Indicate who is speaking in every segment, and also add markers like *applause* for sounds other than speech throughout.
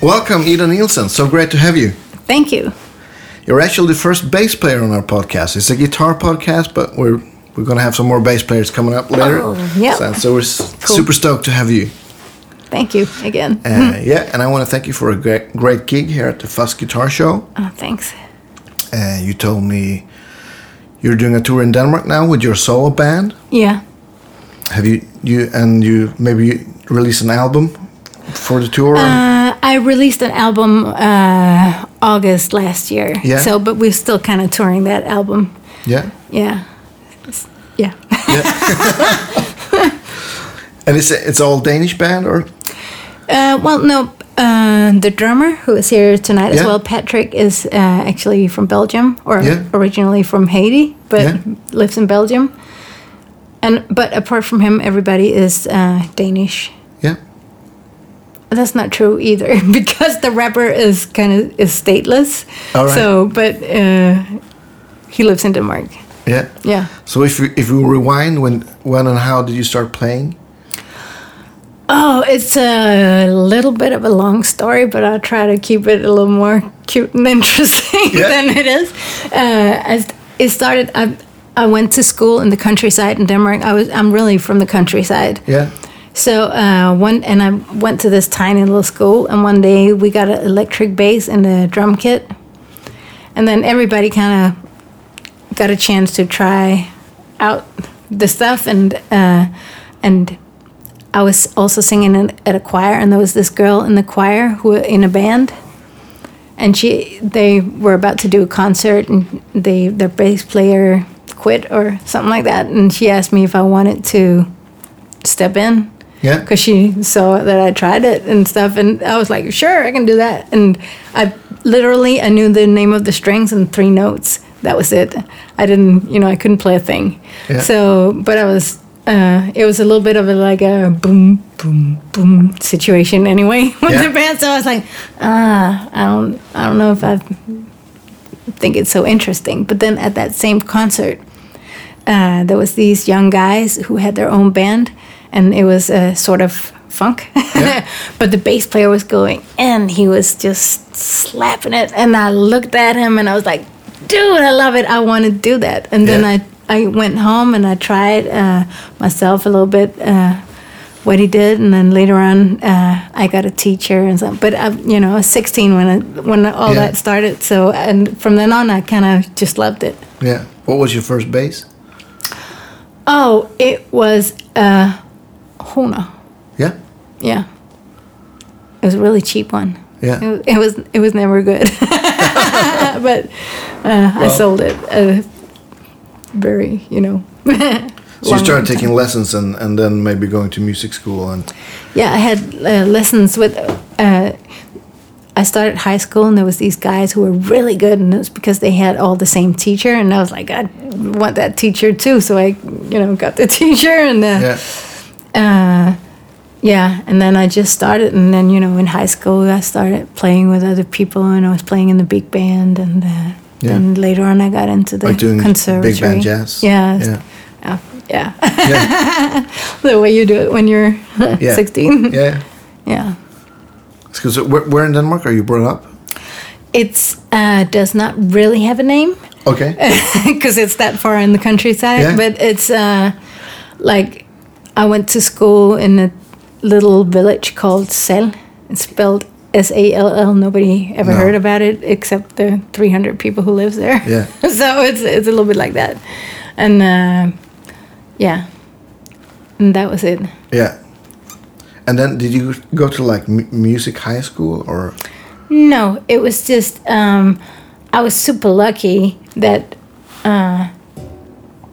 Speaker 1: Welcome, Ida Nielsen. So great to have you.
Speaker 2: Thank you.
Speaker 1: You're actually the first bass player on our podcast. It's a guitar podcast, but we're we're gonna have some more bass players coming up later.
Speaker 2: Oh, yeah.
Speaker 1: So, so we're s
Speaker 2: Cool.
Speaker 1: super stoked to have you.
Speaker 2: Thank you again.
Speaker 1: Uh, yeah, and I want to thank you for a great, great gig here at the Fuss Guitar Show.
Speaker 2: Oh, thanks.
Speaker 1: Uh, you told me you're doing a tour in Denmark now with your solo band.
Speaker 2: Yeah.
Speaker 1: Have you you and you maybe you release an album for the tour?
Speaker 2: Uh, I released an album uh, August last year.
Speaker 1: Yeah.
Speaker 2: So, but we're still kind of touring that album.
Speaker 1: yeah,
Speaker 2: Yeah. It's- yeah.
Speaker 1: and it's it's all Danish band or
Speaker 2: Uh, well, no. Uh, the drummer who is here tonight as
Speaker 1: Yeah.
Speaker 2: well, Patrick, is uh, actually from Belgium or
Speaker 1: Yeah.
Speaker 2: originally from Haiti, but
Speaker 1: Yeah.
Speaker 2: lives in Belgium. And but apart from him, everybody is uh, Danish.
Speaker 1: yeah,
Speaker 2: That's not true either *laughs* because the rapper is kind of is stateless.
Speaker 1: All right.
Speaker 2: So, but uh, he lives in Denmark.
Speaker 1: yeah.
Speaker 2: Yeah.
Speaker 1: So if we, if we rewind, when when and how did you start playing?
Speaker 2: Oh, it's a little bit of a long story, but I'll try to keep it a little more cute and *laughs* interesting
Speaker 1: Yeah.
Speaker 2: than it is. Uh, as it started, I, I went to school in the countryside in Denmark. I was I'm really from the countryside.
Speaker 1: Yeah,
Speaker 2: So uh, one and I went to this tiny little school, and one day we got an electric bass and a drum kit, and then everybody kind of got a chance to try out the stuff, and uh, and I was also singing in, at a choir, and there was this girl in the choir who were in a band, and she they were about to do a concert, and they their bass player quit or something like that, and she asked me if I wanted to step in
Speaker 1: yeah,
Speaker 2: because she saw that I tried it and stuff, and I was like, "Sure, I can do that." And I literally I knew the name of the strings and three notes. That was it. I didn't, you know, I couldn't play a thing.
Speaker 1: Yeah.
Speaker 2: So, but I was. Uh, it was a little bit of a like a boom, boom, boom situation anyway *laughs* with
Speaker 1: Yeah.
Speaker 2: the band. So I was like, ah, I don't, I don't know if I think it's so interesting. But then at that same concert, uh, there was these young guys who had their own band, and it was uh, sort of funk.
Speaker 1: Yeah.
Speaker 2: *laughs* but the bass player was going in; he was just slapping it, and I looked at him and I was like, "Dude, I love it! I want to do that." And then
Speaker 1: Yeah.
Speaker 2: I I went home and I tried uh, myself a little bit. Uh, what he did, and then later on, uh, I got a teacher and something. But I, you know, I was 16 when I, when all
Speaker 1: Yeah.
Speaker 2: that started. So, and from then on, I kind of just loved it.
Speaker 1: yeah. What was your first bass?
Speaker 2: Oh, it was a Hona.
Speaker 1: Yeah,
Speaker 2: Yeah. It was a really cheap one. It
Speaker 1: yeah,
Speaker 2: was it was, it was never good. *laughs* but uh, I sold it uh, very, you know.
Speaker 1: So you started taking lessons and, and then maybe going to music school and
Speaker 2: Yeah, I had uh, lessons with. Uh, I started high school, and there was these guys who were really good, and it was because they had all the same teacher, and I was like, I want that teacher too. So I, you know, got the *laughs* teacher, and uh,
Speaker 1: yeah,
Speaker 2: uh, yeah, and then I just started, and then you know, in high school, I started playing with other people, and I was playing in the big band, and uh, then later on, I got into the
Speaker 1: Like doing big band
Speaker 2: conservatory.
Speaker 1: jazz?
Speaker 2: Yeah,
Speaker 1: Yeah.
Speaker 2: yeah, yeah. *laughs*
Speaker 1: yeah,
Speaker 2: the way you do it when you're
Speaker 1: Yeah.
Speaker 2: *laughs* sixteen.
Speaker 1: yeah. *laughs*
Speaker 2: Yeah,
Speaker 1: Because where, where in Denmark are you brought up?
Speaker 2: it's uh, does not really have a name *laughs*
Speaker 1: Okay,
Speaker 2: because it's that far in the countryside,
Speaker 1: Yeah.
Speaker 2: but it's uh, like I went to school in a little village called Sel. It's spelled S A L L. Nobody ever
Speaker 1: No.
Speaker 2: heard about it except the 300 people who lives there.
Speaker 1: Yeah.
Speaker 2: *laughs* so it's it's a little bit like that, and uh, yeah, and that was it.
Speaker 1: yeah. And then did you go to like mu- music high school or
Speaker 2: No, it was just um, I was super lucky that uh,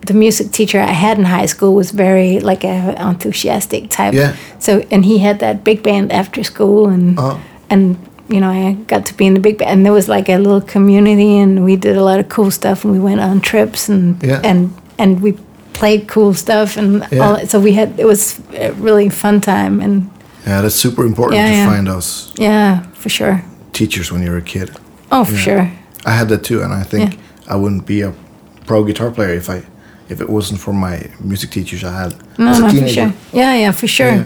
Speaker 2: the music teacher I had in high school was very like a enthusiastic type.
Speaker 1: Yeah.
Speaker 2: So and he had that big band after school and
Speaker 1: Uh-huh.
Speaker 2: and you know I got to be in the big band and there was like a little community and we did a lot of cool stuff and we went on trips and
Speaker 1: Yeah.
Speaker 2: and and we played cool stuff and
Speaker 1: Yeah.
Speaker 2: all so we had it was a really fun time and
Speaker 1: yeah? That's super important
Speaker 2: Yeah,
Speaker 1: to
Speaker 2: yeah.
Speaker 1: find those
Speaker 2: yeah for sure
Speaker 1: teachers when you're a kid.
Speaker 2: oh for sure
Speaker 1: I had that too, and I think
Speaker 2: Yeah.
Speaker 1: I wouldn't be a pro guitar player if I if it wasn't for my music teachers I had
Speaker 2: No,
Speaker 1: as a
Speaker 2: no, for
Speaker 1: teenager.
Speaker 2: sure. Yeah, yeah, for sure.
Speaker 1: Yeah.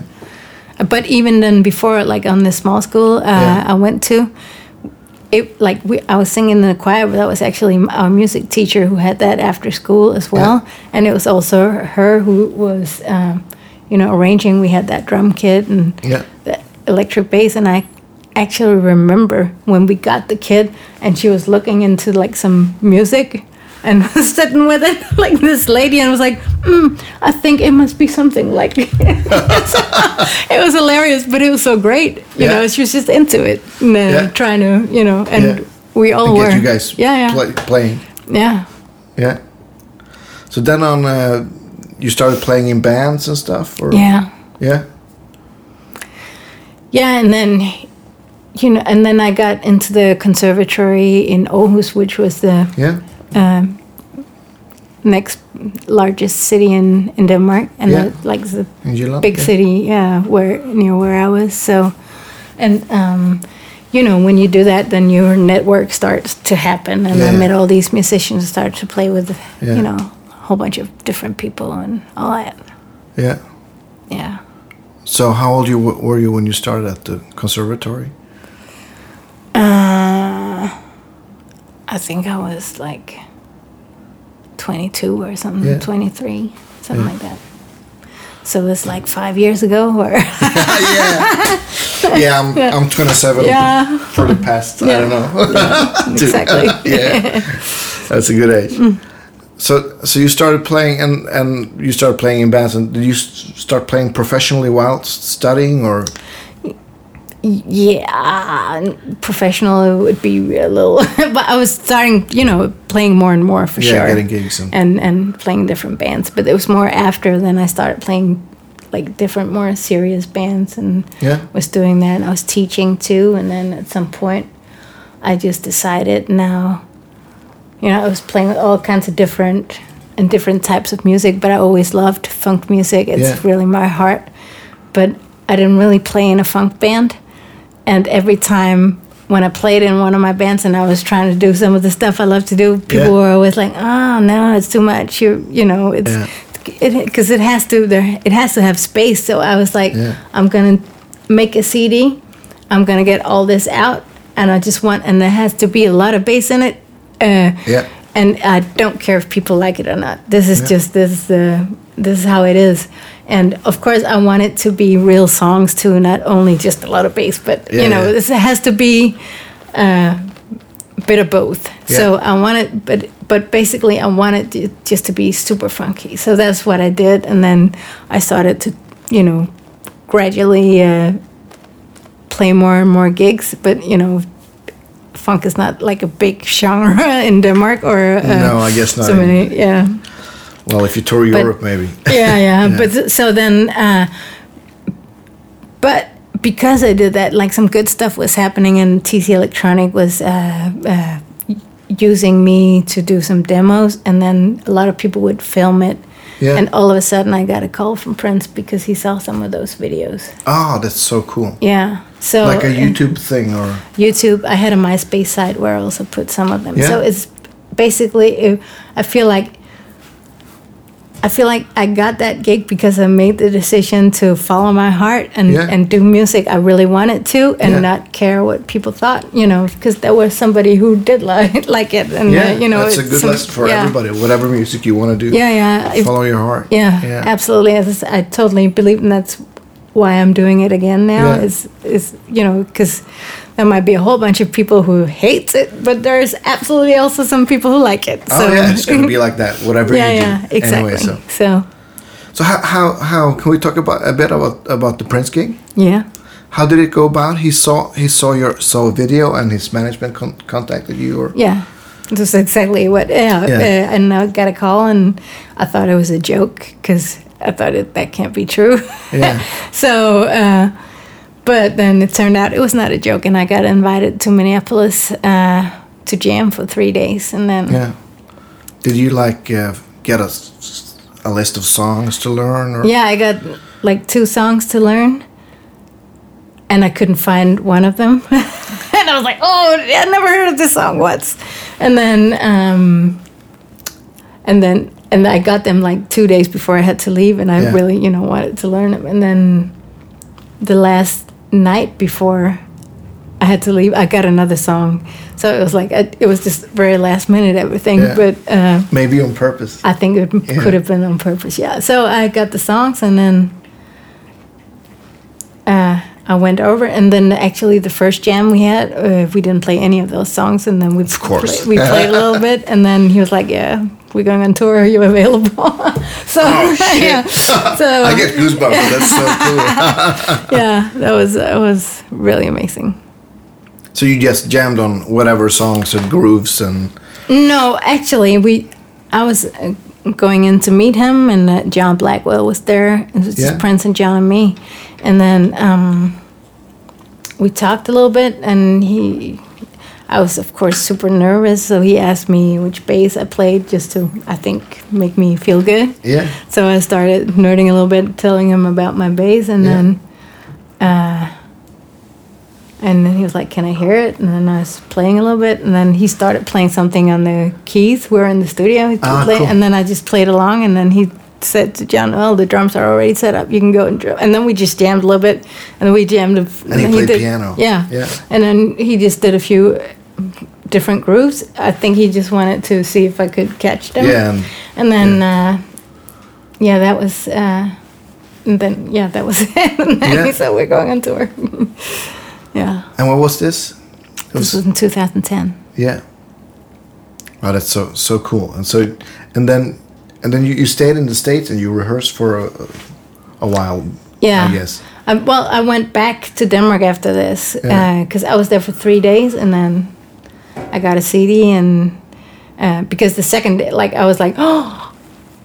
Speaker 2: I But even then, before, like on the small school uh,
Speaker 1: Yeah.
Speaker 2: I went to, it like we, I was singing in the choir, but that was actually m- our music teacher who had that after school as well, and it was also her who was, um, you know, arranging. We had that drum kit and
Speaker 1: Yeah.
Speaker 2: the electric bass and I actually remember when we got the kid and she was looking into like some music and *laughs* was sitting with it *laughs* like this lady and was like mm, I think it must be something like *laughs* it was hilarious but it was so great you
Speaker 1: Yeah.
Speaker 2: know she was just into it and then
Speaker 1: Yeah.
Speaker 2: trying to you know and
Speaker 1: Yeah.
Speaker 2: we all
Speaker 1: And
Speaker 2: were
Speaker 1: get you guys
Speaker 2: yeah yeah
Speaker 1: play, playing.
Speaker 2: yeah
Speaker 1: Yeah. So then on, uh, you started playing in bands and stuff? Or?
Speaker 2: yeah
Speaker 1: Yeah.
Speaker 2: Yeah, and then you know, and then I got into the conservatory in Aarhus, which was the
Speaker 1: Yeah.
Speaker 2: next largest city in, in Denmark, and
Speaker 1: Yeah.
Speaker 2: the, like the
Speaker 1: In Jutland?
Speaker 2: big
Speaker 1: yeah.
Speaker 2: city, yeah, where near where I was. So, and um, you know, when you do that, then your network starts to happen, and I
Speaker 1: Yeah.
Speaker 2: met all these musicians, started to play with,
Speaker 1: Yeah.
Speaker 2: you know, a whole bunch of different people and all that.
Speaker 1: Yeah.
Speaker 2: Yeah,
Speaker 1: So how old you w- were you when you started at the
Speaker 2: *laughs*
Speaker 1: conservatory?
Speaker 2: Uh, I think I was like twenty two or something,
Speaker 1: Yeah.
Speaker 2: twenty three, something like that. So it was like five years ago, or
Speaker 1: Oh. yeah. Yeah, I'm, I'm 27
Speaker 2: *laughs* yeah.
Speaker 1: for the past, I don't know. *laughs* Two.
Speaker 2: exactly. *laughs*
Speaker 1: yeah. That's a good age.
Speaker 2: Mm.
Speaker 1: So so you started playing and and you started playing in bands and did you s- start playing professionally while studying or
Speaker 2: yeah, n- professional it would be a little, *laughs* but I was starting, you know, playing more and more for
Speaker 1: Yeah,
Speaker 2: sure,
Speaker 1: getting gigs and-
Speaker 2: and-, and playing different bands. But it was more after then I started playing like different, more serious bands, and
Speaker 1: Yeah.
Speaker 2: was doing that. I was teaching too, and then at some point, I just decided now, you know, I was playing with all kinds of different and different types of music, but I always loved funk music. It's
Speaker 1: Yeah.
Speaker 2: really my heart. But I didn't really play in a funk band. And every time when I played in one of my bands and I was trying to do some of the stuff I love to do, people
Speaker 1: Yeah.
Speaker 2: were always like, "Oh no, it's too much." You you know, it's
Speaker 1: Yeah.
Speaker 2: it because it has to there it has to have space. So I was like,
Speaker 1: Yeah.
Speaker 2: "I'm gonna make a CD. I'm gonna get all this out, and I just want and there has to be a lot of bass in it." Uh,
Speaker 1: Yeah.
Speaker 2: and I don't care if people like it or not. This is
Speaker 1: Yeah.
Speaker 2: just this is the this is how it is. And of course, I want it to be real songs too, not only just a lot of bass. But
Speaker 1: Yeah,
Speaker 2: you know,
Speaker 1: yeah.
Speaker 2: this has to be a bit of both.
Speaker 1: Yeah.
Speaker 2: So I want it, but but basically, I want it to- just to be super funky. So that's what I did, and then I started to you know gradually uh, play more and more gigs. But you know, funk is not like a big genre *laughs* in Denmark or uh,
Speaker 1: No, I guess not
Speaker 2: So many, yeah,
Speaker 1: well if you tour Europe maybe. *laughs*
Speaker 2: yeah, yeah. But th- so then, uh, but because I did that, like some good stuff was happening, and TC Electronic was uh, uh, y- using me to do some demos, and then a lot of people would film it.
Speaker 1: Yeah.
Speaker 2: And all of a sudden, I got a call from Prince because he saw some of those videos.
Speaker 1: Ah, that's so cool.
Speaker 2: Yeah. So
Speaker 1: Like a YouTube thing or
Speaker 2: YouTube. I had a MySpace site where I also put some of them.
Speaker 1: Yeah.
Speaker 2: So it's basically, it, I feel like. I feel like I got that gig because I made the decision to follow my heart and,
Speaker 1: Yeah.
Speaker 2: and do music I really wanted to and
Speaker 1: Yeah.
Speaker 2: not care what people thought, you know, because there was somebody who did *laughs* like, like it. And, uh,
Speaker 1: yeah,
Speaker 2: you know,
Speaker 1: that's a
Speaker 2: it's
Speaker 1: good
Speaker 2: some-
Speaker 1: lesson for
Speaker 2: yeah.
Speaker 1: everybody. Whatever music you want to do,
Speaker 2: Yeah, yeah. If-
Speaker 1: follow your heart.
Speaker 2: yeah,
Speaker 1: yeah,
Speaker 2: absolutely. As I s- I totally believe, and that's why I'm doing it again now.
Speaker 1: Yeah.
Speaker 2: Is is you know because there might be a whole bunch of people who hates it, but there's absolutely also some people who like it.
Speaker 1: Oh
Speaker 2: so
Speaker 1: yeah, it's gonna be like that. Whatever
Speaker 2: *laughs* yeah,
Speaker 1: you do.
Speaker 2: yeah, exactly.
Speaker 1: Anyway, so
Speaker 2: so.
Speaker 1: so how, how how can we talk about a bit about about the Prince gig?
Speaker 2: yeah,
Speaker 1: How did it go about? He saw he saw your saw a video and his management con- contacted you or
Speaker 2: yeah. That's exactly what. Yeah,
Speaker 1: Yeah.
Speaker 2: Uh, and I got a call, and I thought it was a joke because I thought it, that can't be true. *laughs*
Speaker 1: yeah
Speaker 2: so uh, but then it turned out it was not a joke and i got invited to minneapolis uh, to jam for three days and then
Speaker 1: yeah. Did you like uh, get a s- a list of songs to learn or
Speaker 2: yeah i got like two songs to learn and i couldn't find one of them *laughs* and i was like oh i never heard of this song once and then um, and then and i got them like two days before i had to leave and i
Speaker 1: Yeah.
Speaker 2: really you know wanted to learn them and then the last night before I had to leave, I got another song. So it was like, I, it was just very last minute everything.
Speaker 1: Yeah.
Speaker 2: But uh,
Speaker 1: Maybe on purpose.
Speaker 2: I think it could have been on purpose. Yeah. So I got the songs and then uh, I went over. And then actually, the first jam we had, uh, we didn't play any of those songs. And then we, of
Speaker 1: course.
Speaker 2: we played a little bit. And then he was like, Yeah, we're going on tour. Are you available? *laughs* so, *laughs* yeah. So,
Speaker 1: Oh, I get goosebumps. That's so
Speaker 2: yeah, that was, that was really amazing.
Speaker 1: cool. so you just jammed on whatever songs and grooves and
Speaker 2: No, actually, we. I was uh, going in to meet him, and uh, John Blackwell was there. It was
Speaker 1: Yeah.
Speaker 2: just Prince and John and me, and then um, we talked a little bit, and he. I was, of course, super nervous, so he asked me which bass I played just to, I think, make me feel good.
Speaker 1: yeah.
Speaker 2: So I started nerding a little bit, telling him about my bass, and
Speaker 1: Yeah.
Speaker 2: then, uh, and then he was like, "Can I hear it?" And then I was playing a little bit, and then he started playing something on the keys. We were in the studio, he
Speaker 1: Ah,
Speaker 2: played-
Speaker 1: cool.
Speaker 2: and then I just played along, and then he said to John, "Well, the drums are already set up. You can go and drum." And then we just jammed a little bit, and then we jammed. A,
Speaker 1: And he played piano.
Speaker 2: Yeah,
Speaker 1: Yeah.
Speaker 2: And then he just did a few different grooves. I think he just wanted to see if I could catch them.
Speaker 1: Yeah, and-
Speaker 2: And then, yeah, uh, yeah that was, uh, and then, yeah, that was *laughs* it. and then
Speaker 1: Yeah.
Speaker 2: he said, we're going on tour. *laughs* yeah.
Speaker 1: And what was this? It
Speaker 2: This
Speaker 1: was,
Speaker 2: was in 2010.
Speaker 1: yeah. Oh, that's so so cool. And so and then and then you, you stayed in the states and you rehearsed for a, a while.
Speaker 2: Yeah.
Speaker 1: I guess.
Speaker 2: I, well, I went back to Denmark after this
Speaker 1: Yeah.
Speaker 2: because I was there for three days and then I got a CD and uh, because the second day, like I was like, *gasps* oh,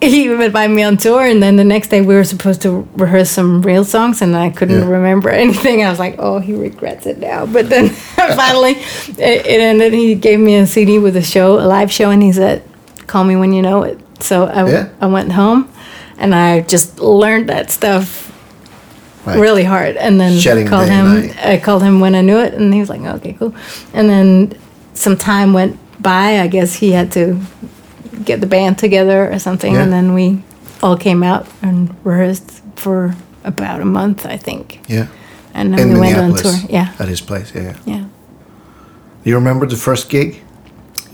Speaker 2: he would invite me on tour and then the next day we were supposed to rehearse some real songs and I couldn't
Speaker 1: Yeah.
Speaker 2: remember *laughs* anything. I was like, oh, he regrets it now. But then *laughs* finally it, it ended. He gave me a CD with a show, a live show, and he said, call me when you know it. So I,
Speaker 1: Yeah.
Speaker 2: I went home and I just learned that stuff
Speaker 1: Right.
Speaker 2: really hard and then
Speaker 1: Shedding
Speaker 2: called
Speaker 1: day
Speaker 2: him
Speaker 1: night.
Speaker 2: I called him when I knew it and he was like okay cool and then some time went by I guess he had to get the band together or something and
Speaker 1: Yeah.
Speaker 2: then we all came out and rehearsed for about a month I think
Speaker 1: Yeah.
Speaker 2: and then
Speaker 1: In
Speaker 2: we went on
Speaker 1: Minneapolis.
Speaker 2: tour yeah
Speaker 1: At his place, yeah. yeah.
Speaker 2: yeah
Speaker 1: You remember the first gig?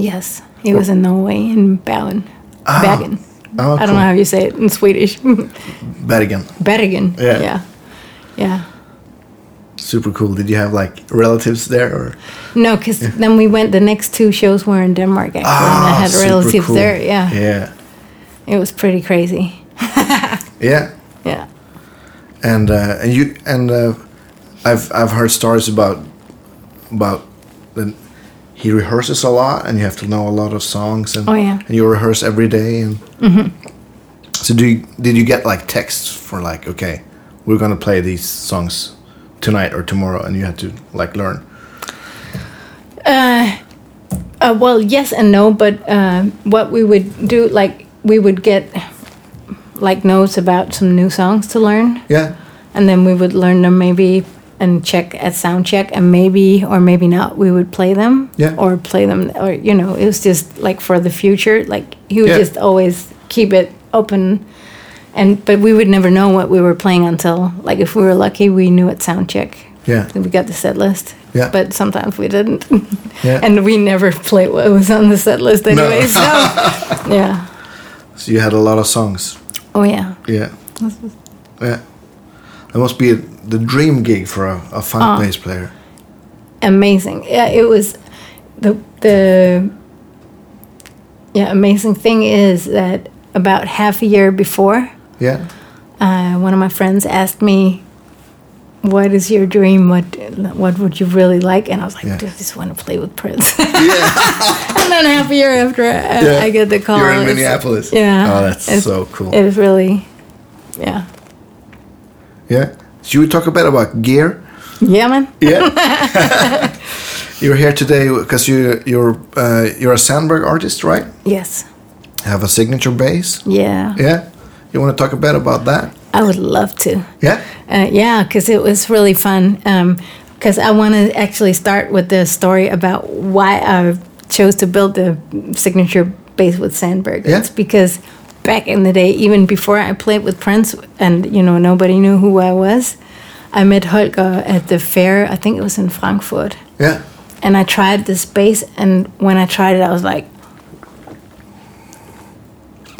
Speaker 2: yes it was in Norway in Bergen Bergen
Speaker 1: Ah. Oh,
Speaker 2: I don't know how you say it in Swedish *laughs*
Speaker 1: cool. Bergen.
Speaker 2: Bergen
Speaker 1: Yeah.
Speaker 2: yeah yeah
Speaker 1: Super cool. Did you have like relatives there or
Speaker 2: No, because then we went. The next two shows were in Denmark, actually. and I
Speaker 1: Ah,
Speaker 2: had
Speaker 1: super
Speaker 2: relatives
Speaker 1: cool.
Speaker 2: there. Yeah.
Speaker 1: Yeah.
Speaker 2: it was pretty crazy.
Speaker 1: Yeah.
Speaker 2: Yeah,
Speaker 1: and uh, and you and uh, I've I've heard stories about about the, he rehearses a lot, and you have to know a lot of songs, and
Speaker 2: Oh, yeah. Mm-hmm.
Speaker 1: and you rehearse every day, and so do you, did you get like texts for like okay, we're gonna play these songs tonight or tomorrow, and you had to like learn.
Speaker 2: Uh, well, yes and no, but uh, what we would do, like, we would get like notes about some new songs to learn,
Speaker 1: Yeah,
Speaker 2: and then we would learn them maybe and check at sound check, and maybe or maybe not, we would play them.
Speaker 1: Yeah.
Speaker 2: Or play them, or you know, it was just like for the future. Like he would
Speaker 1: Yeah.
Speaker 2: just always keep it open. And but we would never know what we were playing until like if we were lucky we knew at sound check
Speaker 1: yeah,
Speaker 2: we got the set list.
Speaker 1: Yeah.
Speaker 2: But sometimes we didn't.
Speaker 1: Yeah.
Speaker 2: *laughs* And we never played what was on the set list anyway.
Speaker 1: *laughs*
Speaker 2: So yeah.
Speaker 1: so you had a lot of songs.
Speaker 2: Oh yeah.
Speaker 1: Yeah, yeah, that must be a, the dream gig for a, a funk
Speaker 2: Ah.
Speaker 1: bass player.
Speaker 2: Amazing. Yeah, it was the the yeah, amazing thing is that about half a year before,
Speaker 1: Yeah,
Speaker 2: uh, one of my friends asked me, "What is your dream? What what would you really like?" And I was like,
Speaker 1: Yeah.
Speaker 2: "Dude, I just want to play with
Speaker 1: *laughs*
Speaker 2: Prince." *laughs* and then half a year after, I,
Speaker 1: Yeah.
Speaker 2: I get the call.
Speaker 1: You're in
Speaker 2: Oh, It's-
Speaker 1: Minneapolis.
Speaker 2: Yeah.
Speaker 1: Oh, that's
Speaker 2: It's-
Speaker 1: so cool.
Speaker 2: It is really, yeah,
Speaker 1: Yeah. Should we talk a bit about gear?
Speaker 2: yeah, man.
Speaker 1: Yeah. *laughs* you're here today because you you're uh, you're a Sandberg artist, right?
Speaker 2: Yes,
Speaker 1: Have a signature bass.
Speaker 2: yeah.
Speaker 1: Yeah. You want to talk a bit about that?
Speaker 2: I would love to.
Speaker 1: Yeah.
Speaker 2: Uh, yeah, because it was really fun. Because I want to actually start with the story about why I chose to build the signature base with Sandberg.
Speaker 1: Yeah.
Speaker 2: It's because back in the day, even before I played with Prince, and you know nobody knew who I was, I met Holger at the fair. I think it was in Frankfurt,
Speaker 1: Yeah.
Speaker 2: and I tried this bass. And when I tried it, I was like,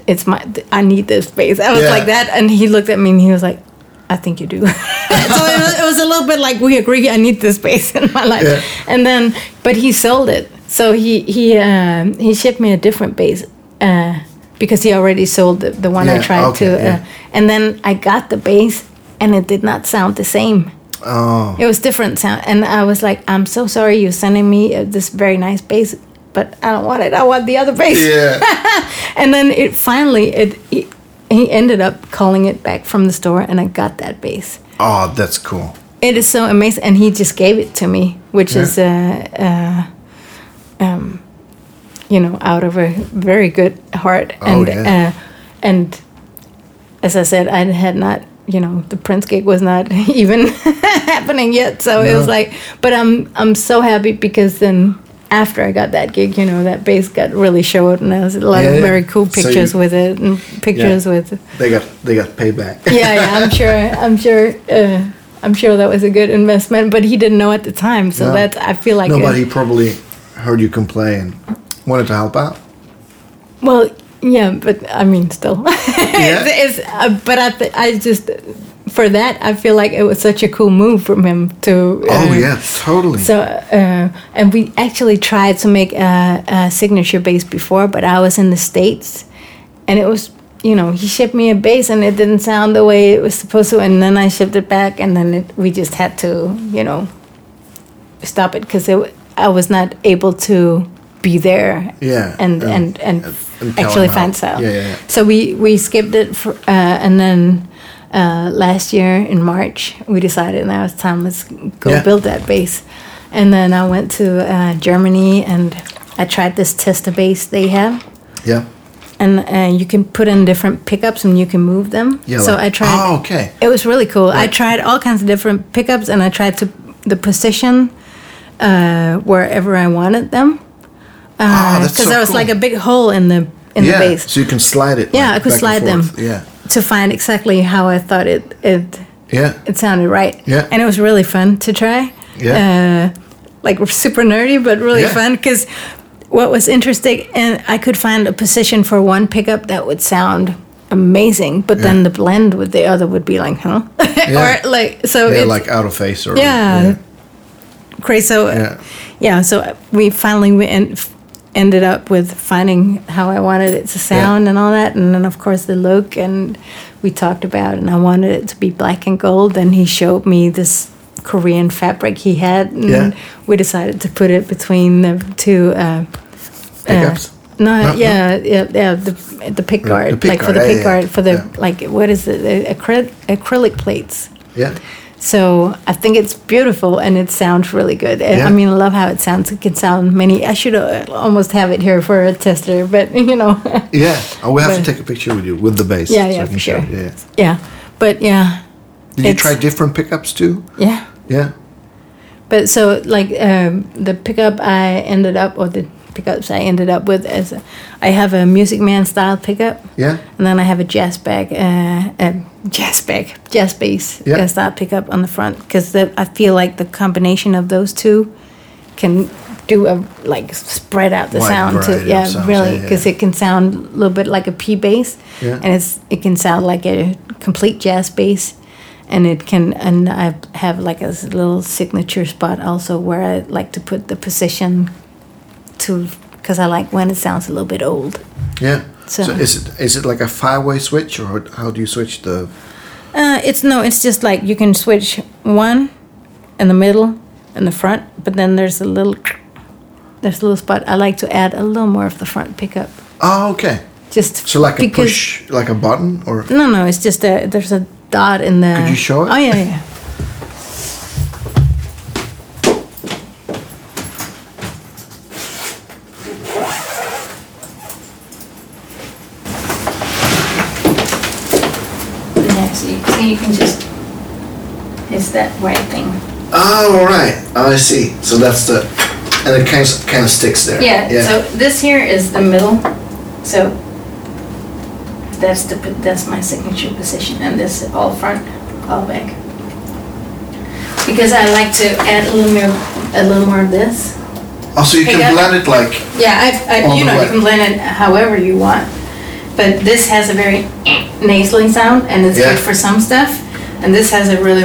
Speaker 2: "It's my. I need this bass." I was
Speaker 1: Yeah.
Speaker 2: like that, and he looked at me and he was like, "I think you do." *laughs* so it was, it was a little bit like we agree. I need this bass *laughs* in my life.
Speaker 1: Yeah.
Speaker 2: And then, but he sold it. So he he um, he shipped me a different bass. Uh, because he already sold the, the one I
Speaker 1: Yeah,
Speaker 2: tried
Speaker 1: okay,
Speaker 2: to, uh,
Speaker 1: yeah.
Speaker 2: and then I got the bass, and it did not sound the same. *laughs*
Speaker 1: Oh.
Speaker 2: It was different sound, and I was like, "I'm so sorry, you're sending me uh, this very nice bass, but I don't want it. I want the other bass."
Speaker 1: Yeah.
Speaker 2: And then it finally it, it he ended up calling it back from the store, and I got that bass.
Speaker 1: oh, that's cool.
Speaker 2: It is so amazing, and he just gave it to me, which
Speaker 1: Yeah.
Speaker 2: is uh, uh, um, you know, out of a very good heart,
Speaker 1: Oh,
Speaker 2: and
Speaker 1: yeah.
Speaker 2: uh, and as I said, I had not, you know, the Prince gig was not *laughs* even happening yet, so it was
Speaker 1: No.
Speaker 2: like, but I'm I'm so happy because then after I got that gig, you know, that bass got really showed, and there was a lot
Speaker 1: Yeah,
Speaker 2: of
Speaker 1: yeah.
Speaker 2: very cool
Speaker 1: So you-
Speaker 2: pictures with it, and pictures with
Speaker 1: They got they got payback.
Speaker 2: yeah, yeah, I'm sure. I'm sure. Uh, I'm sure that was a good investment, but he didn't know at the time, so
Speaker 1: No.
Speaker 2: that's. I feel like.
Speaker 1: no,
Speaker 2: it-
Speaker 1: but he probably heard you complain, wanted to help out.
Speaker 2: well, yeah, but I mean, still. *laughs*
Speaker 1: Yeah.
Speaker 2: it's, it's, uh, but I, th- I just, for that, I feel like it was such a cool move from him to.
Speaker 1: Oh
Speaker 2: uh,
Speaker 1: yeah, totally.
Speaker 2: So, uh, and we actually tried to make a, a signature bass before, but I was in the States and it was, you know, he shipped me a bass and it didn't sound the way it was supposed to. And then I shipped it back and then it, we just had to, you know, stop it because I was not able to be there
Speaker 1: Yeah, um,
Speaker 2: and,
Speaker 1: and-
Speaker 2: and, and,
Speaker 1: and tell
Speaker 2: actually
Speaker 1: him how-
Speaker 2: find out.
Speaker 1: Yeah, yeah, yeah.
Speaker 2: So we, we skipped it for, uh, and then uh, last year in March, we decided now it's time, let's go
Speaker 1: Yeah.
Speaker 2: build that base. And then I went to uh, Germany and I tried this tester base they have.
Speaker 1: yeah.
Speaker 2: And uh, you can put in different pickups and you can move them.
Speaker 1: Yeah.
Speaker 2: so
Speaker 1: like-
Speaker 2: I tried.
Speaker 1: Oh, okay.
Speaker 2: It was really cool. I tried all kinds of different pickups and I tried to the position uh, wherever I wanted them.
Speaker 1: Ah,
Speaker 2: Because
Speaker 1: that's so
Speaker 2: there uh, was
Speaker 1: cool.
Speaker 2: like a big hole in the in
Speaker 1: yeah,
Speaker 2: the base.
Speaker 1: so you can slide it.
Speaker 2: Yeah,
Speaker 1: like,
Speaker 2: I could
Speaker 1: back and
Speaker 2: slide them.
Speaker 1: forth. Yeah,
Speaker 2: to find exactly how I thought it it
Speaker 1: yeah,
Speaker 2: it sounded right.
Speaker 1: Yeah.
Speaker 2: And it was really fun to try.
Speaker 1: Yeah.
Speaker 2: Uh, like super nerdy, but really
Speaker 1: Yeah.
Speaker 2: fun because what was interesting, and I could find a position for one pickup that would sound amazing, but then the blend with the other would be like, huh? *laughs*
Speaker 1: Yeah.
Speaker 2: or like so.
Speaker 1: yeah.
Speaker 2: it's,
Speaker 1: Like out of face or
Speaker 2: yeah,
Speaker 1: yeah.
Speaker 2: crazy. So uh,
Speaker 1: Yeah.
Speaker 2: yeah. so we finally we en- ended up with finding how I wanted it to sound and all that, and then of course the look and we talked about, it, and I wanted it to be black and gold. And he showed me this Korean fabric he had, and
Speaker 1: Yeah.
Speaker 2: we decided to put it between the two. Uh,
Speaker 1: pickups.
Speaker 2: no,
Speaker 1: No, no.
Speaker 2: yeah, yeah, yeah, the the pick guard,
Speaker 1: the pick
Speaker 2: like for
Speaker 1: guard,
Speaker 2: the
Speaker 1: yeah,
Speaker 2: pick
Speaker 1: yeah,
Speaker 2: guard, for the
Speaker 1: yeah.
Speaker 2: like what is it, the acryl- acrylic plates.
Speaker 1: Yeah,
Speaker 2: So I think it's beautiful and it sounds really good. And
Speaker 1: Yeah.
Speaker 2: I mean, I love how it sounds. It can sound many. I should uh, almost have it here for a tester, but *laughs* you know,
Speaker 1: yeah. Oh, we have to
Speaker 2: But-
Speaker 1: take a picture with you with the base.
Speaker 2: Yeah,
Speaker 1: so
Speaker 2: yeah,
Speaker 1: I can
Speaker 2: for
Speaker 1: show
Speaker 2: sure.
Speaker 1: you. Yeah.
Speaker 2: yeah. But yeah,
Speaker 1: Did you
Speaker 2: It's-
Speaker 1: try different pickups too?
Speaker 2: yeah.
Speaker 1: Yeah.
Speaker 2: But so like um, the pickup I ended up, or the pickups I ended up with, is I have a Music Man style pickup.
Speaker 1: Yeah.
Speaker 2: And then I have a jazz bag, uh, a jazz bag, jazz bass
Speaker 1: Yeah.
Speaker 2: jazz style pickup on the front because I feel like the combination of those two can do a like spread out the
Speaker 1: Wide
Speaker 2: sound to
Speaker 1: variety of
Speaker 2: yeah
Speaker 1: sounds,
Speaker 2: really
Speaker 1: yeah,
Speaker 2: because
Speaker 1: yeah.
Speaker 2: it can sound a little bit like a P bass
Speaker 1: Yeah.
Speaker 2: and it's it can sound like a complete jazz bass and it can and I have like a s- little signature spot also where I like to put the position to because I like when it sounds a little bit old.
Speaker 1: Yeah. So,
Speaker 2: So-
Speaker 1: is it is it like a five-way switch or how- how do you switch the?
Speaker 2: Uh, it's no, it's just like you can switch one in the middle and the front, but then there's a little there's a little spot. I like to add a little more of the front pickup,
Speaker 1: Oh, okay.
Speaker 2: just
Speaker 1: So like a
Speaker 2: because-
Speaker 1: push, like a button or
Speaker 2: No, no, it's just a there's a dot in the.
Speaker 1: Could you show it?
Speaker 2: Oh yeah, yeah. Yeah, so you, so you can just it's that white thing.
Speaker 1: Oh, all right. Oh, I see. So that's the, and it kind of, kind of sticks there.
Speaker 2: Yeah,
Speaker 1: Yeah.
Speaker 2: so this here is the middle. So that's the that's my signature position and this all front, all back. because I like to add a little more, a little more of this.
Speaker 1: Oh, so you
Speaker 2: Yeah.
Speaker 1: can blend it like
Speaker 2: Yeah, I, I,
Speaker 1: On
Speaker 2: you
Speaker 1: the
Speaker 2: know, you
Speaker 1: way.
Speaker 2: can blend it however you want, but this has a very nasally sound, and it's good
Speaker 1: Yeah.
Speaker 2: for some stuff, and this has a really,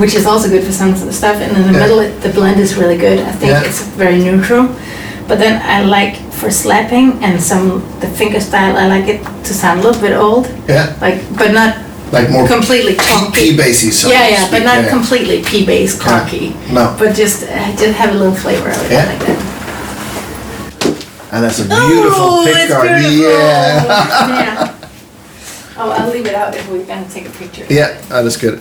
Speaker 2: which is also good for some of the stuff, and in the
Speaker 1: Yeah.
Speaker 2: middle, it- the blend is really good. I think
Speaker 1: Yeah.
Speaker 2: it's very neutral, but then I like for slapping and some the finger style. I like it to sound a little bit old,
Speaker 1: yeah,
Speaker 2: like but not
Speaker 1: like more
Speaker 2: completely clunky.
Speaker 1: key bassy. So
Speaker 2: yeah,
Speaker 1: to
Speaker 2: yeah, but
Speaker 1: speak.
Speaker 2: not
Speaker 1: yeah.
Speaker 2: completely pea-based
Speaker 1: Yeah.
Speaker 2: clunky.
Speaker 1: No.
Speaker 2: But just uh, just have a little flavor of it.
Speaker 1: Yeah.
Speaker 2: I like that.
Speaker 1: And that's a beautiful
Speaker 2: oh, it's
Speaker 1: pickguard.
Speaker 2: beautiful.
Speaker 1: *laughs* Yeah.
Speaker 2: yeah. Oh, I'll leave it out if we're gonna take a picture.
Speaker 1: Yeah, that is good.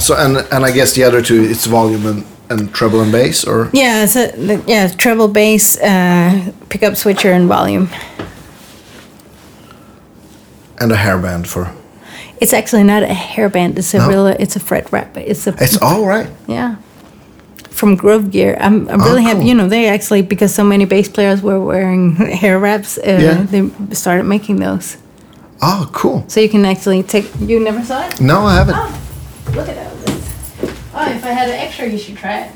Speaker 1: So and and I guess the other two it's volume and, and treble and bass or
Speaker 2: Yeah, so the, yeah, treble bass, uh, pickup switcher, and volume.
Speaker 1: and a hairband for
Speaker 2: It's actually not a hairband. It's a
Speaker 1: No?
Speaker 2: real. It's a fret wrap. It's a
Speaker 1: it's all right.
Speaker 2: yeah. From Grove Gear, I'm, I'm really happy.
Speaker 1: Oh, cool.
Speaker 2: You know, they actually because so many bass players were wearing *laughs* hair wraps, uh,
Speaker 1: Yeah.
Speaker 2: they started making those.
Speaker 1: Oh, cool.
Speaker 2: So you can actually take. You never saw it?
Speaker 1: No, I haven't.
Speaker 2: Oh, look at that. Oh, if I had an extra, you should try it.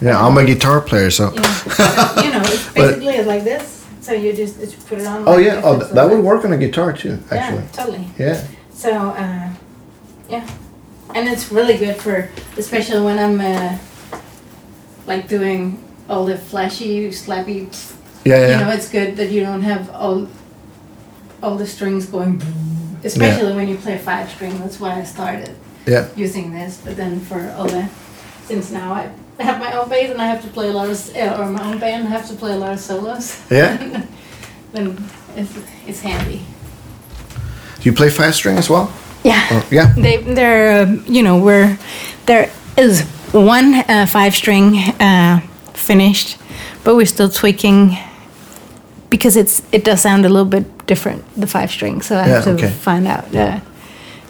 Speaker 1: Yeah, I'm a guitar player, so.
Speaker 2: You know, you know it's basically like this. So you just, just put it on.
Speaker 1: *laughs* Oh
Speaker 2: like
Speaker 1: yeah,
Speaker 2: this,
Speaker 1: oh,
Speaker 2: it's
Speaker 1: th- that
Speaker 2: like-
Speaker 1: would work on a guitar too,
Speaker 2: Yeah,
Speaker 1: actually.
Speaker 2: totally.
Speaker 1: Yeah.
Speaker 2: So, uh, yeah. And it's really good for, especially when I'm uh, like doing all the flashy, slappy.
Speaker 1: Yeah, yeah.
Speaker 2: You know, it's good that you don't have all all the strings going. Especially when you play five string. That's why I started.
Speaker 1: yeah.
Speaker 2: using this, but then for all the, since now I have my own bass and I have to play a lot of, uh, or my own band, I have to play a lot of solos.
Speaker 1: Yeah.
Speaker 2: *laughs* then it's, it's handy.
Speaker 1: Do you play five string as well?
Speaker 2: Yeah.
Speaker 1: Or, Oh, yeah.
Speaker 2: *laughs* They, they're, um, you know, we're, there is one uh, five string uh, finished, but we're still tweaking because it's it does sound a little bit different the five string. So I have
Speaker 1: Yeah,
Speaker 2: to
Speaker 1: okay.
Speaker 2: find out uh,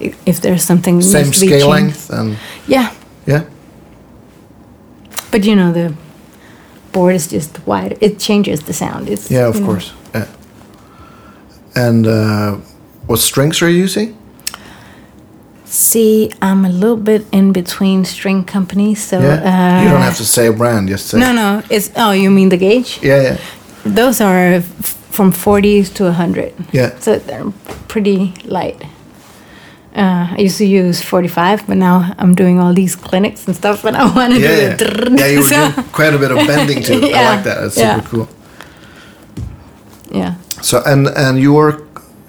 Speaker 2: i- if there's something that
Speaker 1: Same
Speaker 2: needs to be
Speaker 1: scale
Speaker 2: changed.
Speaker 1: length and
Speaker 2: Yeah,
Speaker 1: yeah.
Speaker 2: But you know the board is just wide. It changes the sound. It's
Speaker 1: Yeah, of
Speaker 2: you know.
Speaker 1: course. Yeah. And uh, what strings are you using?
Speaker 2: See, I'm a little bit in between string companies, so
Speaker 1: Yeah.
Speaker 2: uh,
Speaker 1: you don't have to say a brand, just say
Speaker 2: No, no. It's oh, you mean the gauge?
Speaker 1: Yeah,
Speaker 2: *laughs*
Speaker 1: yeah.
Speaker 2: Those are f- from 40s to 100.
Speaker 1: Yeah.
Speaker 2: So they're pretty light. Uh, I used to use 45, but now I'm doing all these clinics and stuff, and I want to
Speaker 1: Yeah, yeah.
Speaker 2: do it. *laughs*
Speaker 1: yeah, you were doing quite a bit of bending to it. I
Speaker 2: Yeah,
Speaker 1: like that. That's
Speaker 2: yeah.
Speaker 1: super cool.
Speaker 2: yeah.
Speaker 1: So and and you work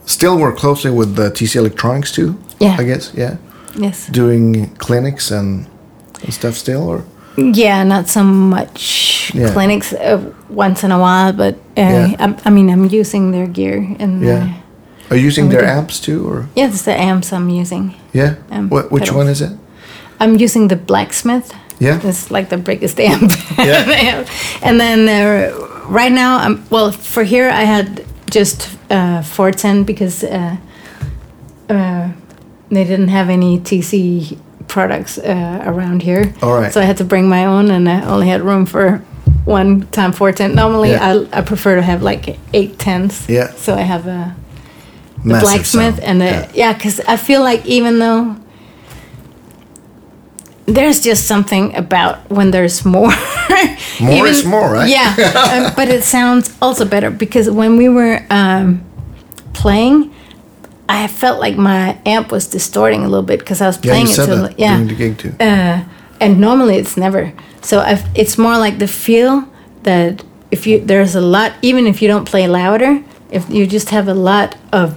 Speaker 1: still work closely with the TC Electronics too?
Speaker 2: Yeah.
Speaker 1: I guess, yeah.
Speaker 2: Yes.
Speaker 1: Doing clinics and, and stuff still or
Speaker 2: Yeah, not so much
Speaker 1: Yeah.
Speaker 2: clinics uh, once in a while, but uh,
Speaker 1: Yeah.
Speaker 2: I'm, I mean, I'm using their gear and
Speaker 1: Yeah.
Speaker 2: yeah,
Speaker 1: Are you using
Speaker 2: Oh, we
Speaker 1: their
Speaker 2: do.
Speaker 1: amps too or
Speaker 2: yeah, it's the amps I'm using.
Speaker 1: yeah?
Speaker 2: Um,
Speaker 1: Wh- which
Speaker 2: pedals.
Speaker 1: one is it?
Speaker 2: I'm using the blacksmith.
Speaker 1: Yeah.
Speaker 2: it's like the biggest amp.
Speaker 1: Yeah.
Speaker 2: *laughs* they have. and then uh, right now, I'm well for here. I had just uh, 410 because uh, uh, they didn't have any TC products uh, around here.
Speaker 1: All right.
Speaker 2: So I had to bring my own, and I only had room for one time 410. Normally,
Speaker 1: Yeah.
Speaker 2: I, I prefer to have like eight tens.
Speaker 1: Yeah.
Speaker 2: So I have a the
Speaker 1: Massive
Speaker 2: blacksmith
Speaker 1: sound.
Speaker 2: and the yeah because i feel like even though there's just something about when there's more
Speaker 1: *laughs* More is more, right? *laughs*
Speaker 2: yeah um, but it sounds also better because when we were um, playing i felt like my amp was distorting a little bit because i was
Speaker 1: yeah,
Speaker 2: playing
Speaker 1: you
Speaker 2: it
Speaker 1: said
Speaker 2: to
Speaker 1: that
Speaker 2: yeah
Speaker 1: during the gig too.
Speaker 2: uh, and normally it's never. So i it's more like the feel that if you there's a lot, even if you don't play louder, if you just have a lot of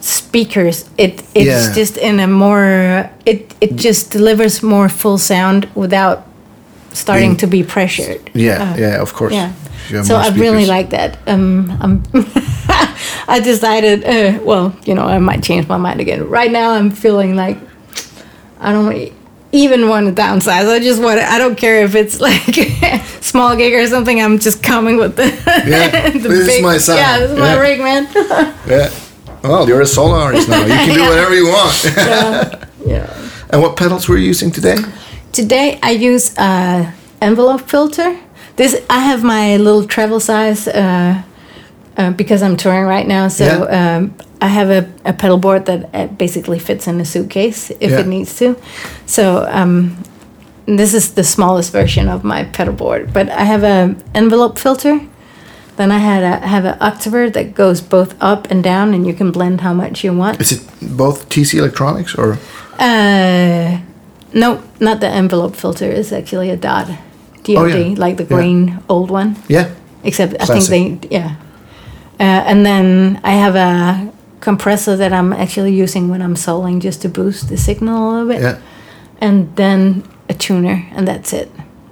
Speaker 2: speakers, it it's
Speaker 1: Yeah.
Speaker 2: just in a more it it just delivers more full sound without starting
Speaker 1: Being-
Speaker 2: to be pressured.
Speaker 1: Yeah, yeah, of course.
Speaker 2: uh, Yeah.
Speaker 1: If you have
Speaker 2: So
Speaker 1: more
Speaker 2: I really
Speaker 1: speakers.
Speaker 2: like that. Um, I'm *laughs* I decided, uh, well, you know, I might change my mind again. Right now, I'm feeling like I don't e- even want to downsize. I just want to, I don't care if it's *laughs* like small gig or something. I'm just coming with the, *laughs*
Speaker 1: Yeah,
Speaker 2: the
Speaker 1: this is my sound.
Speaker 2: Yeah, this is my
Speaker 1: Yeah.
Speaker 2: rig, man.
Speaker 1: Yeah. Well, you're a solo artist now. You
Speaker 2: *laughs*
Speaker 1: can do whatever you want. *laughs*
Speaker 2: yeah.
Speaker 1: and what pedals were you using today?
Speaker 2: Today I use uh, envelope filter. This I have my little travel size uh, uh, because I'm touring right now. So
Speaker 1: Yeah.
Speaker 2: um, I have a, a pedal board that uh, basically fits in a suitcase if
Speaker 1: Yeah.
Speaker 2: it needs to. So um, this is the smallest version of my pedal board, but I have a envelope filter. Then I had a, have an octaver that goes both up and down, and you can blend how much you want.
Speaker 1: Is it both TC Electronics or
Speaker 2: Uh, no, not the envelope filter. It's actually a dot, DOD,
Speaker 1: Oh, yeah.
Speaker 2: like the
Speaker 1: Yeah.
Speaker 2: green old one.
Speaker 1: yeah?
Speaker 2: Except I
Speaker 1: Classic.
Speaker 2: think they, yeah. Uh, and then I have a compressor that I'm actually using when I'm soloing just to boost the signal a little bit.
Speaker 1: Yeah,
Speaker 2: And then a tuner, and that's it.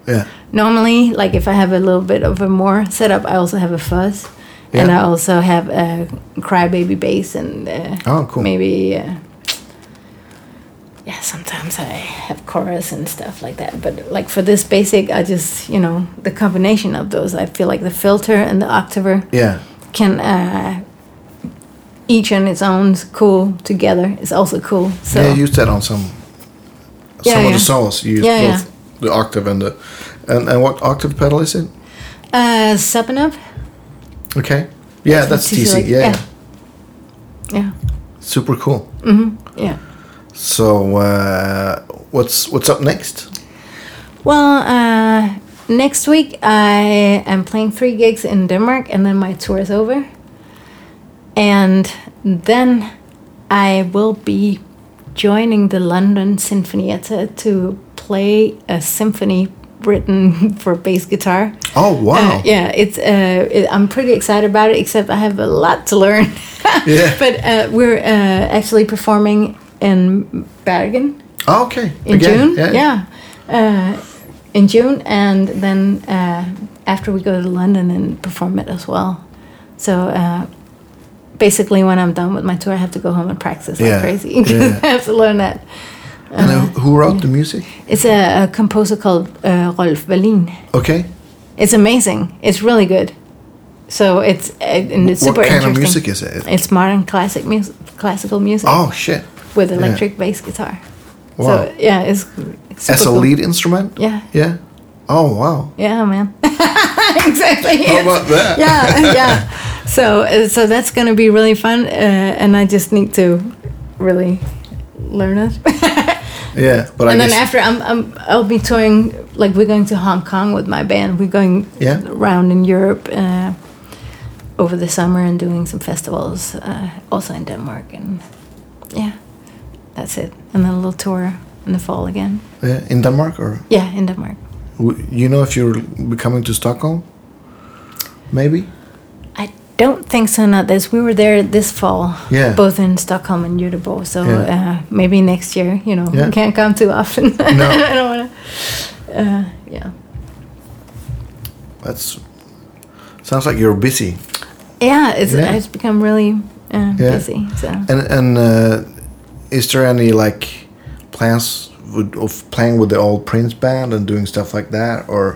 Speaker 1: yeah,
Speaker 2: Normally, like if I have a little bit of a more setup, I also have a fuzz, and
Speaker 1: Yeah.
Speaker 2: I also have a crybaby bass, and uh,
Speaker 1: Oh, cool.
Speaker 2: maybe uh, yeah. Sometimes I have chorus and stuff like that, but like for this basic, I just you know the combination of those. I feel like the filter and the octaver
Speaker 1: yeah.
Speaker 2: can uh, each on its own is cool together. It's also cool. So
Speaker 1: yeah, I used that on some
Speaker 2: Yeah,
Speaker 1: some of
Speaker 2: yeah.
Speaker 1: the solos. You used
Speaker 2: Yeah,
Speaker 1: both the octave and the and, and what octave pedal is it?
Speaker 2: uh, sub and up.
Speaker 1: Okay, yeah, that's,
Speaker 2: TC,
Speaker 1: TC.
Speaker 2: like-
Speaker 1: yeah,
Speaker 2: yeah.
Speaker 1: yeah,
Speaker 2: Yeah,
Speaker 1: super cool.
Speaker 2: yeah.
Speaker 1: So uh, what's what's up next?
Speaker 2: Well, uh, next week I am playing three gigs in Denmark, and then my tour is over. And then I will be joining the London Sinfonietta to play a symphony written *laughs* for bass guitar.
Speaker 1: Oh wow!
Speaker 2: Uh, yeah, it's. Uh, it, I'm pretty excited about it. Except I have a lot to learn. *laughs*
Speaker 1: Yeah.
Speaker 2: But uh, we're uh, actually performing in Bergen
Speaker 1: Oh, okay.
Speaker 2: in
Speaker 1: Again,
Speaker 2: June. Yeah, Uh, in June, and then uh, after we go to London and perform it as well. So uh, basically, when I'm done with my tour, I have to go home and practice like
Speaker 1: Yeah,
Speaker 2: crazy 'cause
Speaker 1: yeah.
Speaker 2: *laughs* I have to learn that.
Speaker 1: And uh, who wrote the music?
Speaker 2: It's a, a composer called uh, Rolf Berlin.
Speaker 1: Okay.
Speaker 2: It's amazing. It's really good. So it's uh, and it's
Speaker 1: what
Speaker 2: super
Speaker 1: kind of
Speaker 2: interesting.
Speaker 1: music is it?
Speaker 2: It's modern classic music, classical music
Speaker 1: Oh shit!
Speaker 2: with
Speaker 1: yeah.
Speaker 2: electric bass guitar.
Speaker 1: Wow.
Speaker 2: So yeah, it's, it's super
Speaker 1: As a
Speaker 2: cool.
Speaker 1: lead instrument?
Speaker 2: Yeah.
Speaker 1: Yeah. Oh wow!
Speaker 2: Yeah, man. *laughs* exactly.
Speaker 1: How about that?
Speaker 2: *laughs* yeah, yeah. So, uh, so that's gonna be really fun, uh, and I just need to really learn it. *laughs*
Speaker 1: Yeah, but I
Speaker 2: and
Speaker 1: guess
Speaker 2: then after, I'm, I'm, I'll be touring. Like we're going to Hong Kong with my band. We're going
Speaker 1: Yeah.
Speaker 2: around in Europe uh, over the summer and doing some festivals, uh, also in Denmark. And yeah, that's it. And then a little tour in the fall again.
Speaker 1: yeah, in Denmark or
Speaker 2: Yeah, in Denmark.
Speaker 1: W- You know if you're be coming to Stockholm? Maybe?
Speaker 2: I don't think so. Not this. We were there this fall.
Speaker 1: Yeah.
Speaker 2: Both in Stockholm and Göteborg. So
Speaker 1: Yeah.
Speaker 2: uh, maybe next year. You know,
Speaker 1: Yeah.
Speaker 2: we can't come too often. *laughs*
Speaker 1: No.
Speaker 2: I don't want to. Uh, yeah.
Speaker 1: That's sounds like you're busy.
Speaker 2: Yeah. It's
Speaker 1: Yeah.
Speaker 2: it's become really uh,
Speaker 1: Yeah.
Speaker 2: busy. So.
Speaker 1: And and uh, is there any like plans with, of playing with the old Prince band and doing stuff like that or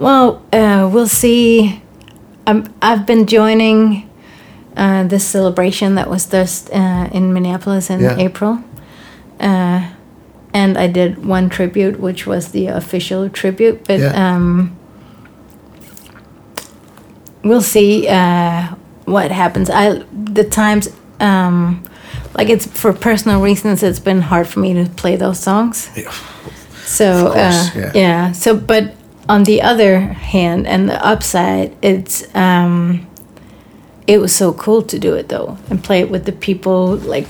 Speaker 2: Well, uh, we'll see. Um, I've been joining uh, this celebration that was just uh, in Minneapolis in
Speaker 1: Yeah.
Speaker 2: April. Uh, and I did one tribute, which was the official tribute. But
Speaker 1: Yeah.
Speaker 2: um, we'll see uh, what happens. I the times um, like it's for personal reasons. It's been hard for me to play those songs. So
Speaker 1: Of course,
Speaker 2: uh,
Speaker 1: yeah.
Speaker 2: yeah. So, but on the other hand, and the upside, it's um, it was so cool to do it though and play it with the people like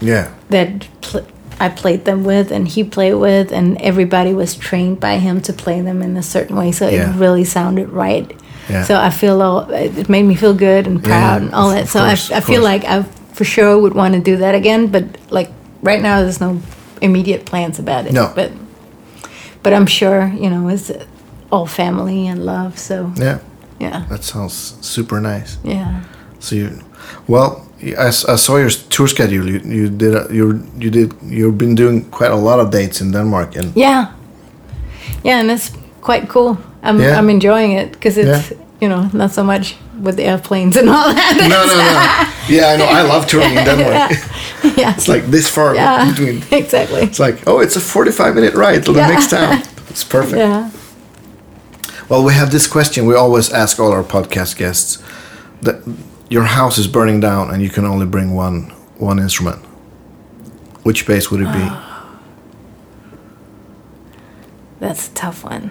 Speaker 1: yeah.
Speaker 2: that pl- I played them with and he played with, and everybody was trained by him to play them in a certain way. So
Speaker 1: Yeah.
Speaker 2: it really sounded right.
Speaker 1: Yeah.
Speaker 2: So I feel all, it made me feel good and proud and all
Speaker 1: of
Speaker 2: that. So
Speaker 1: course,
Speaker 2: I, I
Speaker 1: of
Speaker 2: feel
Speaker 1: course.
Speaker 2: like I for sure would want to do that again, but like right now, there's no immediate plans about it.
Speaker 1: No.
Speaker 2: But but I'm sure you know it's all family and love. So
Speaker 1: Yeah.
Speaker 2: yeah,
Speaker 1: That sounds super nice.
Speaker 2: yeah.
Speaker 1: So you well I, s- I saw your tour schedule. You, you did a, you you did you've been doing quite a lot of dates in Denmark
Speaker 2: *laughs*
Speaker 1: and
Speaker 2: Yeah, yeah, and it's quite cool. I'm
Speaker 1: Yeah.
Speaker 2: I'm enjoying it because it's
Speaker 1: Yeah.
Speaker 2: you know not so much with the airplanes and all that.
Speaker 1: no, no, no. Yeah, I know. I love touring in Denmark.
Speaker 2: *laughs* yeah,
Speaker 1: It's like this far
Speaker 2: yeah,
Speaker 1: between.
Speaker 2: *laughs*
Speaker 1: *laughs*
Speaker 2: exactly.
Speaker 1: It's like, oh, it's a 45 minute ride to the
Speaker 2: Yeah.
Speaker 1: next
Speaker 2: *laughs*
Speaker 1: town. It's perfect.
Speaker 2: Yeah,
Speaker 1: Well, we have this question we always ask all our podcast guests that your house is burning down and you can only bring one one instrument. Which bass would it be?
Speaker 2: That's a tough one.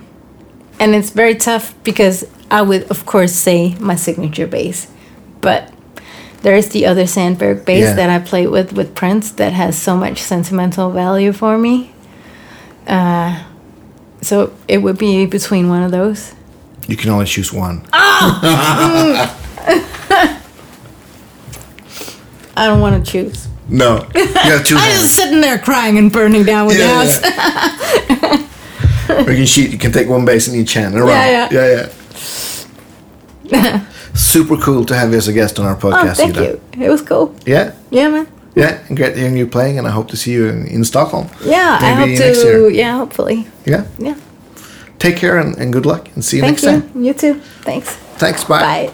Speaker 2: And it's very tough because I would, of course, say my signature bass. But there is the other Sandberg bass
Speaker 1: Yeah.
Speaker 2: that I played with with Prince that has so much sentimental value for me. Uh, so it would be between one of those.
Speaker 1: You can only choose one.
Speaker 2: I don't want to choose.
Speaker 1: No, you have
Speaker 2: *laughs*
Speaker 1: two
Speaker 2: I'm just
Speaker 1: hands.
Speaker 2: sitting there crying and burning down with the
Speaker 1: Yeah,
Speaker 2: house.
Speaker 1: yeah. or *laughs* you can cheat. You can take one bass in each hand and around.
Speaker 2: yeah.
Speaker 1: yeah, yeah.
Speaker 2: *laughs*
Speaker 1: Super cool to have you as a guest on our podcast.
Speaker 2: oh, thank
Speaker 1: Ida.
Speaker 2: you. It was cool.
Speaker 1: Yeah,
Speaker 2: Yeah, man.
Speaker 1: yeah. And great hearing you playing, and I hope to see you in, in Stockholm.
Speaker 2: Yeah, I
Speaker 1: Maybe
Speaker 2: hope
Speaker 1: next
Speaker 2: to.
Speaker 1: year.
Speaker 2: Yeah, hopefully.
Speaker 1: Yeah.
Speaker 2: Yeah.
Speaker 1: Take care and, and good luck, and see you next
Speaker 2: Thank you.
Speaker 1: time.
Speaker 2: You too. Thanks.
Speaker 1: Thanks.
Speaker 2: Bye.